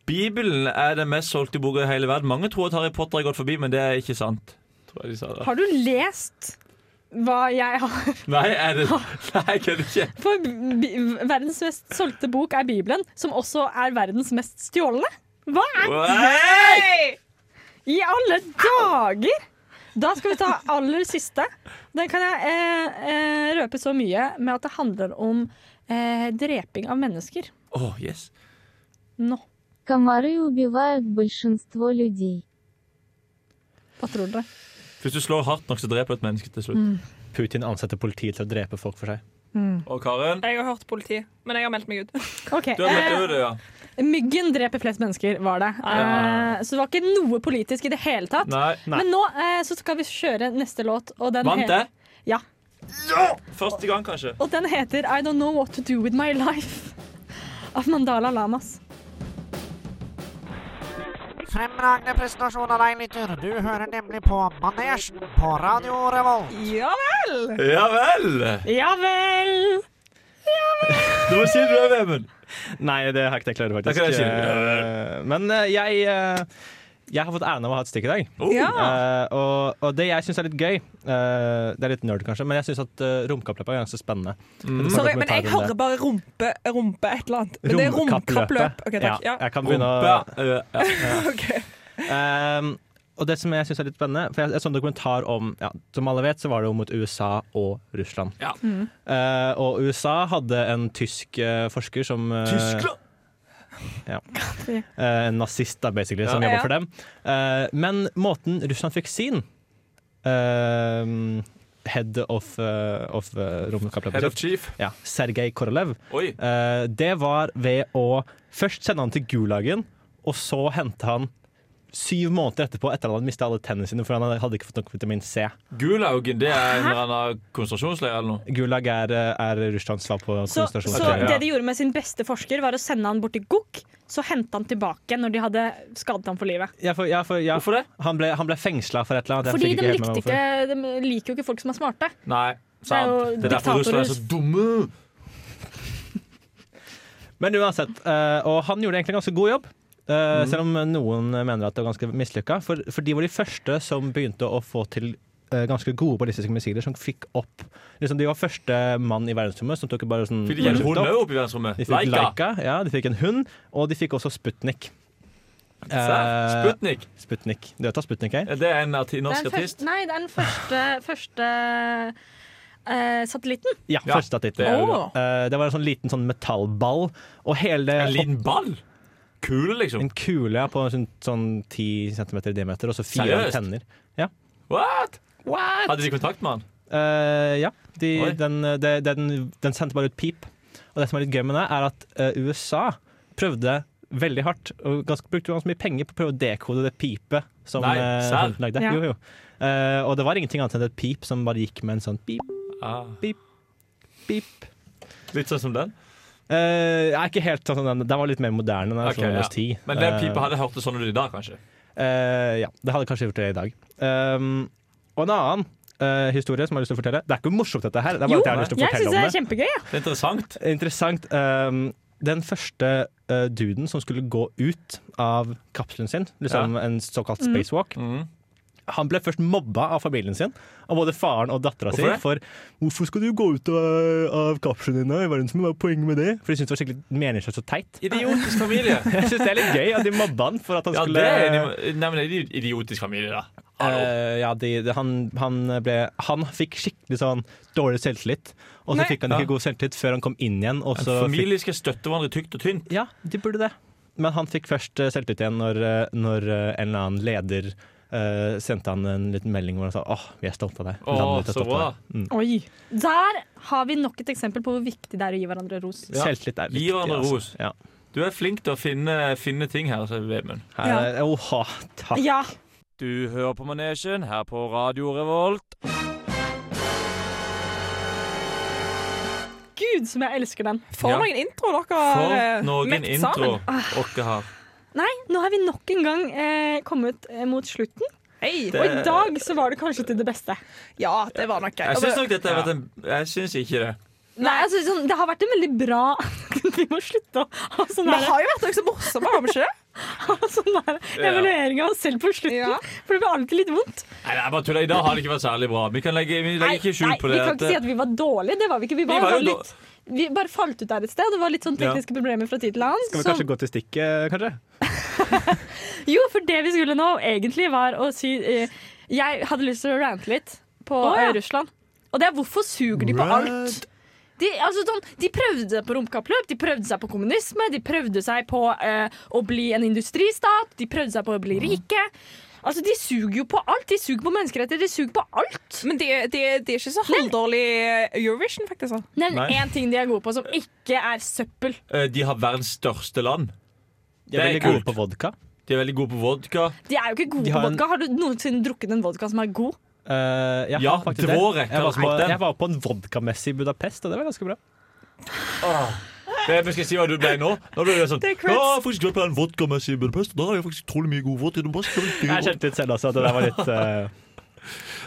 C: Bibelen er den mest solgte boka i hele verden. Mange tror at Harry Potter er gått forbi, men det er ikke sant. Tror jeg de sa det.
G: Har du lest hva jeg har
C: Nei, er det Nei, jeg kødder ikke.
G: For bi verdens mest solgte bok er Bibelen, som også er verdens mest stjålne. Hva er
C: Nei!
G: I alle dager! Da skal vi ta aller siste. Den kan jeg eh, eh, røpe så mye med at det handler om eh, dreping av mennesker.
C: Åh, yes.
G: Nå.
J: Комары убивают большинство людей.
G: Hva tror dere?
C: Hvis du slår hardt nok, så dreper du et menneske til
G: Mm.
C: slutt.
B: Putin ansetter politiet til å drepe folk for seg.
C: Og Karen?
D: Jeg har hørt politi, men jeg har meldt meg ut.
G: Ok,
C: Du har
G: eh,
C: meldt deg ut, ja.
G: Myggen dreper flest mennesker, var det.
C: Ja.
G: Eh, så det var ikke noe politisk i det hele tatt.
C: Nei.
B: Nei.
G: Men nå eh, så skal vi kjøre neste låt, og den,
C: Vant
G: he
C: jeg?
G: Ja.
C: Første gang, kanskje.
G: og den heter I Don't Know What To Do With My Life av Mandala Lamas.
K: Fremragende presentasjon av deg, lytter. Du hører nemlig på Manesjen på Radio Revolt.
D: Ja vel!
C: Ja vel!
G: Ja vel!
C: Du må si det, Vemund.
B: Nei, det har ikke jeg klart,
C: Da
B: faktisk.
C: kan jeg si det.
B: Eh, Men eh, jeg, eh, jeg har fått æren av å ha et stikk i dag.
C: Oh.
D: Ja.
B: Eh, og, og det jeg syns er litt gøy eh, Det er litt nerd, kanskje, men jeg syns at uh, romkappløpet er ganske spennende.
C: Mm.
B: Det var
D: Sorry,
B: en
D: men jeg
B: kommentar om
D: hører
B: det.
D: bare rumpe, rumpe et eller annet. Men det er romkappløp. Ok, takk.
B: Ja,
D: Ja.
B: jeg kan begynne å
C: Rumpa. Ja.
D: Ok.
B: Ehm, og det som jeg synes er litt spennende For jeg, jeg så en dokumentar om ja, Som alle vet, så var det jo mot USA og Russland.
C: Ja.
B: Eh, og USA hadde en tysk eh, forsker som eh,
C: Tyskland!
B: eh, en nazist, da, basically, som
D: Ja.
B: jobba for dem. Eh, men måten Russland fikk sin eh, head of, eh, of eh, romkappløpet
C: Head of
B: sitt,
C: chief.
B: ja, Sergej Korolev,
C: Oi.
B: eh, det var ved å først sende han til Gulagen, og så hente han syv måneder etterpå etter at han hadde mista alle tennene sine, for han hadde ikke fått nok vitamin C.
C: Gulaugen, det er en eller annen konsentrasjonsleir eller noe?
B: Gulag er, er Russlands svar på
G: Så, så
C: Ok,
B: konsentrasjonsleir.
C: ja.
G: det de gjorde med sin beste forsker, var å sende han bort til Gok, så henta han tilbake når de hadde skadet ham for livet.
B: Jeg får- jeg får- jeg- Han ble, han ble fengsla for et eller annet. jeg
G: Fordi
B: fikk
G: de,
B: helt med
G: likte
B: meg
G: ikke,
B: hvorfor.
G: de liker jo ikke folk som er smarte.
C: Nei,
G: Det er jo
C: sant. Det er
G: diktatorer.
C: derfor Russland er så dumme.
B: Men uansett, eh, og han gjorde egentlig en ganske god jobb. eh, Selv om noen mener at det var ganske mislykka. For, for de var de første som begynte å få til eh, ganske gode ballistiske missiler som fikk opp liksom, De var første mann i verdensrommet som tok bare sånn
C: Fikk de en
B: bare
C: hund
B: opp.
C: også opp i verdensrommet?
B: De fikk
C: Leica.
B: Leica, ja, de fikk en hund, og de fikk også Sputnik. Eh,
C: Se, Sputnik.
B: Sputnik. Du vet hva Sputnik er?
C: Det er en arti-
G: Det er
C: norsk
G: den
C: artist.
G: første, nei, det er den første, første eh, satellitten.
B: Ja, første artittel.
G: det er jo det.
B: Eh, det var en sånn liten sånn metallball. Og hele
C: En liten ball? Kule, liksom?
B: En kule ja, på sånn, sånn 10 cm i diameter, og så fire
C: Seriøst?
B: tenner. Ja.
C: What? Hadde de kontakt med han?
B: Eh, ja.
C: Oi.
B: De, den, eh, det- den, den sendte bare ut pip. Og det som er litt gøy med det, er at eh, USA prøvde veldig hardt, og ganske, brukte ganske mye penger på å prøve å dekode det pipet som
C: Nei,
B: eh,
C: serr?
B: han lagde.
C: Ja.
B: Jo, jo. Eh, og det var ingenting annet enn et pip som bare gikk med en sånn pip.
C: Ah.
B: Beep. Beep.
C: Litt sånn som den?
B: Eh, jeg er ikke helt sånn som den. Den var litt mer moderne. Den er
C: Ok,
B: sånn Windows
C: ja.
B: 10.
C: Men det
B: Eh,
C: pipa hadde hørt det sånn ut i dag, kanskje?
B: Eh, ja, det hadde kanskje gjort det i dag. Ehm, og en annen eh, historie som jeg har lyst til å fortelle. Det er ikke morsomt, dette her. Det er bare
G: Jo,
B: at jeg har lyst til å
G: jeg
B: fortelle
G: syns det er
B: om det.
G: kjempegøy. Ja.
C: Det er interessant.
B: Ehm, den første eh, duden som skulle gå ut av kapselen sin, liksom
C: Ja.
B: en såkalt
C: Mm.
B: spacewalk, han ble først mobba av familien sin, av både faren og dattera si,
C: Hvorfor det?
B: for 'hvorfor skal du gå ut av, av kapselen din da, i verdensrommet, hva er poenget med det?' For de syntes det var skikkelig meningsløst og teit.
C: Idiotisk familie.
B: Jeg syns det er litt gøy at de mobba han for at han
C: Ja,
B: skulle
C: det er en nei, men det er en idiotisk familie, da.
B: Eh, ja, de, de, han, han, ble, han fikk skikkelig sånn dårlig selvtillit. Og så
C: Nei.
B: fikk han ikke
C: Ja.
B: god selvtillit før han kom inn igjen. Og
C: En
B: så fikk,
C: familie skal støtte hverandre tykt og tynt.
B: Ja, de burde det. men han fikk først eh, selvtillit igjen når, eh, når eh, en eller annen leder eh, sendte han en liten melding hvor han sa åh, vi er stolte av deg.
C: Åh,
B: Landet ditt er
C: så
B: stolt av deg». Mm.
G: Oi. Der har vi nok et eksempel på hvor viktig det er å gi hverandre ros.
C: Ja.
B: Selvtillit er viktig.
C: Gi hverandre
B: altså.
C: ros. Du er flink til å finne, finne ting her, så Vemund.
B: Her er- Oha, takk.
G: Ja.
C: Du hører på Manesjen her på Radio Revolt.
G: Gud, som jeg elsker den.
D: For
C: Ja.
D: noen intro dere har eh,
C: For noen
D: mekt
C: intro
D: sammen.
C: dere har.
G: Nei, nå har vi nok en gang eh, kommet eh, mot slutten.
C: Det-
G: Og i dag så var det kanskje til det beste.
D: Ja, det var nok Altså,
C: Jeg syns nok dette har vært en Jeg syns ikke det.
G: Nei, altså, sånn, Det har vært en veldig bra Vi må slutte å ha sånn
D: Det har jo vært noe så morsomt, har vi ikke det?
G: sånn der
C: Ja.
G: evaluering av oss selv på slutten. For det blir alltid litt vondt.
C: Nei, det er bare tull. I dag har det ikke vært særlig bra. Vi kan legge, vi legger ikke skjul
G: nei,
C: på
G: vi
C: det.
G: kan
C: at
G: ikke si at vi var dårlige. Det var vi ikke. Vi,
C: Vi
G: var
C: var jo
G: bare litt, vi bare falt ut der et sted. Det var litt sånn
B: Ja.
G: tekniske problemer fra tid til annen.
B: Skal vi
G: så-
B: kanskje gå til stikket, kanskje?
G: Jo, for det vi skulle nå egentlig var å si eh, Jeg hadde lyst til å rante litt på
E: Å, ja.
G: eh, Russland. Og det er hvorfor suger de på alt? De, altså, sånn, de prøvde seg på romkappløp, de prøvde seg på kommunisme, de prøvde seg på eh, å bli en industristat, de prøvde seg på å
B: Mm.
G: bli rike. Altså, De suger jo på alt. De suger på menneskerettigheter, de suger på alt.
D: Men de, er ikke så halvdårlig eh, Eurovision, faktisk.
G: Nevn
C: Nei.
G: én ting de er gode på som ikke er søppel.
C: Eh, De har verdens største land.
B: De er veldig gode på vodka.
C: De er veldig gode på vodka.
G: De er jo ikke gode
B: De har
G: på
B: en-
G: vodka. Har du noensinne drukket en vodka som er god?
B: Eh, jeg
C: Ja,
B: har faktisk
C: til
B: det.
C: vår rett
B: jeg,
C: har
B: var
C: vi
B: på,
C: smakt den.
B: jeg var på en vodkamesse i Budapest, og det var ganske bra.
C: Det Ah. vi skal si hva du ble nå. Nå ble det sånn
B: Det er
C: Ja,
B: creds.
C: jeg har faktisk vært på en vodkamesse i Budapest, og da har jeg faktisk trolig mye god vodka. i Budapest. Det var litt
B: Jeg kjente litt selv altså, at det der var litt eh,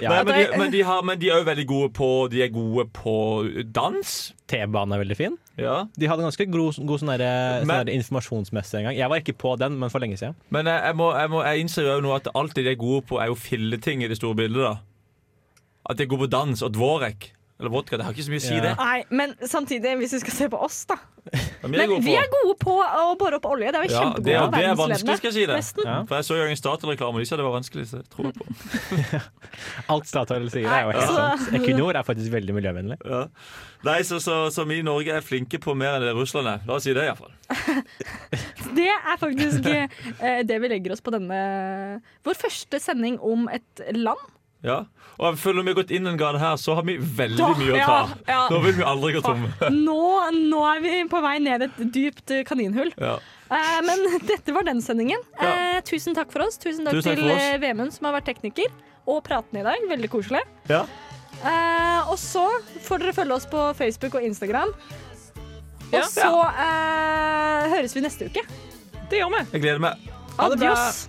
B: ja.
C: Nei, men, de, men, de har, men de er jo veldig gode på De er gode på dans.
B: T-banen er veldig fin.
C: Ja.
B: De hadde ganske god, god sånn derre- sånn
C: Men-
B: derre informasjonsmesse en gang. Jeg var ikke på den, men for lenge siden.
C: Men jeg, jeg, må, jeg, må, jeg innser jo nå at alt det de er gode på, er jo filleting i det store bildet. da At de er gode på dans og dvorek. Eller vodka. Det har ikke så mye å si, det.
G: Nei, men samtidig, hvis vi skal se på oss, da.
C: Men
G: Men vi er gode på å bore opp olje. Det er jo
C: ja, det,
G: kjempegode
C: er-
G: og
C: det er
G: verdensledende.
C: vanskelig, skal jeg si det.
G: Nesten.
C: For jeg så jo en Statoil-reklame, og de sa det var vanskelig. Så jeg tror på.
B: Alt Statoil sier, er jo
C: Nei,
B: helt
C: så-
B: sant. Equinor er faktisk veldig miljøvennlig.
C: Ja. Nei, så, så, så vi i Norge er flinke på mer enn det Russland er. La oss si det, iallfall.
G: Det er faktisk eh, det vi legger oss på denne Vår første sending om et land.
C: Ja. Og jeg føler om vi har gått inn en gade her, så har vi veldig
G: Da-
C: mye å ta.
G: ja, ja.
C: Nå vil vi aldri gå tomme.
G: Nå, nå er vi på vei ned et dypt eh, kaninhull.
C: Ja.
G: Eh, men dette var den sendingen.
C: Ja.
G: Eh, tusen takk for oss. Tusen takk
C: Tusen takk
G: til
C: for oss.
G: eh, Vemund, som har vært tekniker, og pratende i dag. Veldig koselig.
C: Ja.
G: Eh, og så får dere følge oss på Facebook og Instagram. Og
D: Ja.
G: så eh, høres vi neste uke.
D: Det gjør vi.
C: Jeg gleder meg.
D: Adios.